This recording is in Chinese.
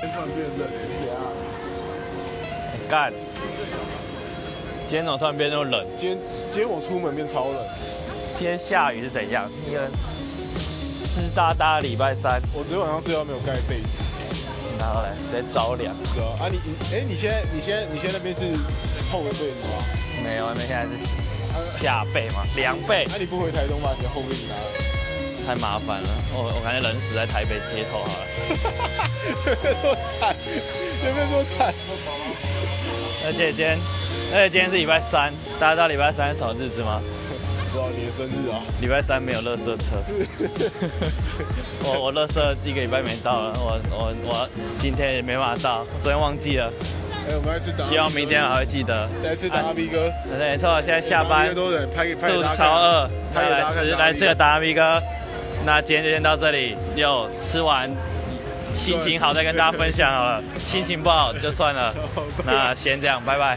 上变得凉。干，今天怎么突然变那么冷？今天今天我出门变超冷，今天下雨是怎样？一个湿哒哒礼拜三，我昨天晚上睡觉没有盖被子。然后嘞直接着凉。对啊，啊你你哎、你现在你现在你现在那边是后背子吗？没有，那现在是下背嘛，凉背啊，你不回台东把你的后背子拿 来？太麻烦了。哦我我感觉冷死在台北街头啊好了。有没有这么惨？有没有这么惨？而且今天，而且今天是礼拜三，大家知道礼拜三是什么日子吗？不知道你的生日啊？礼拜三没有垃圾车，我我垃圾一个礼拜没到了，我我我今天也没办法到，昨天忘记了，哎、我们来去打。 希望明天还会记得。再次打阿 B 哥，啊没错，现在下打阿班 B 哥，都得拍给拍给肚大家看子超饿，拍要给大来家看吃打阿 B 来吃个达米哥。那今天就先到这里，又吃完， 心情好再跟大家分享好了，心情不好就算了好拜拜。那先这样，拜拜。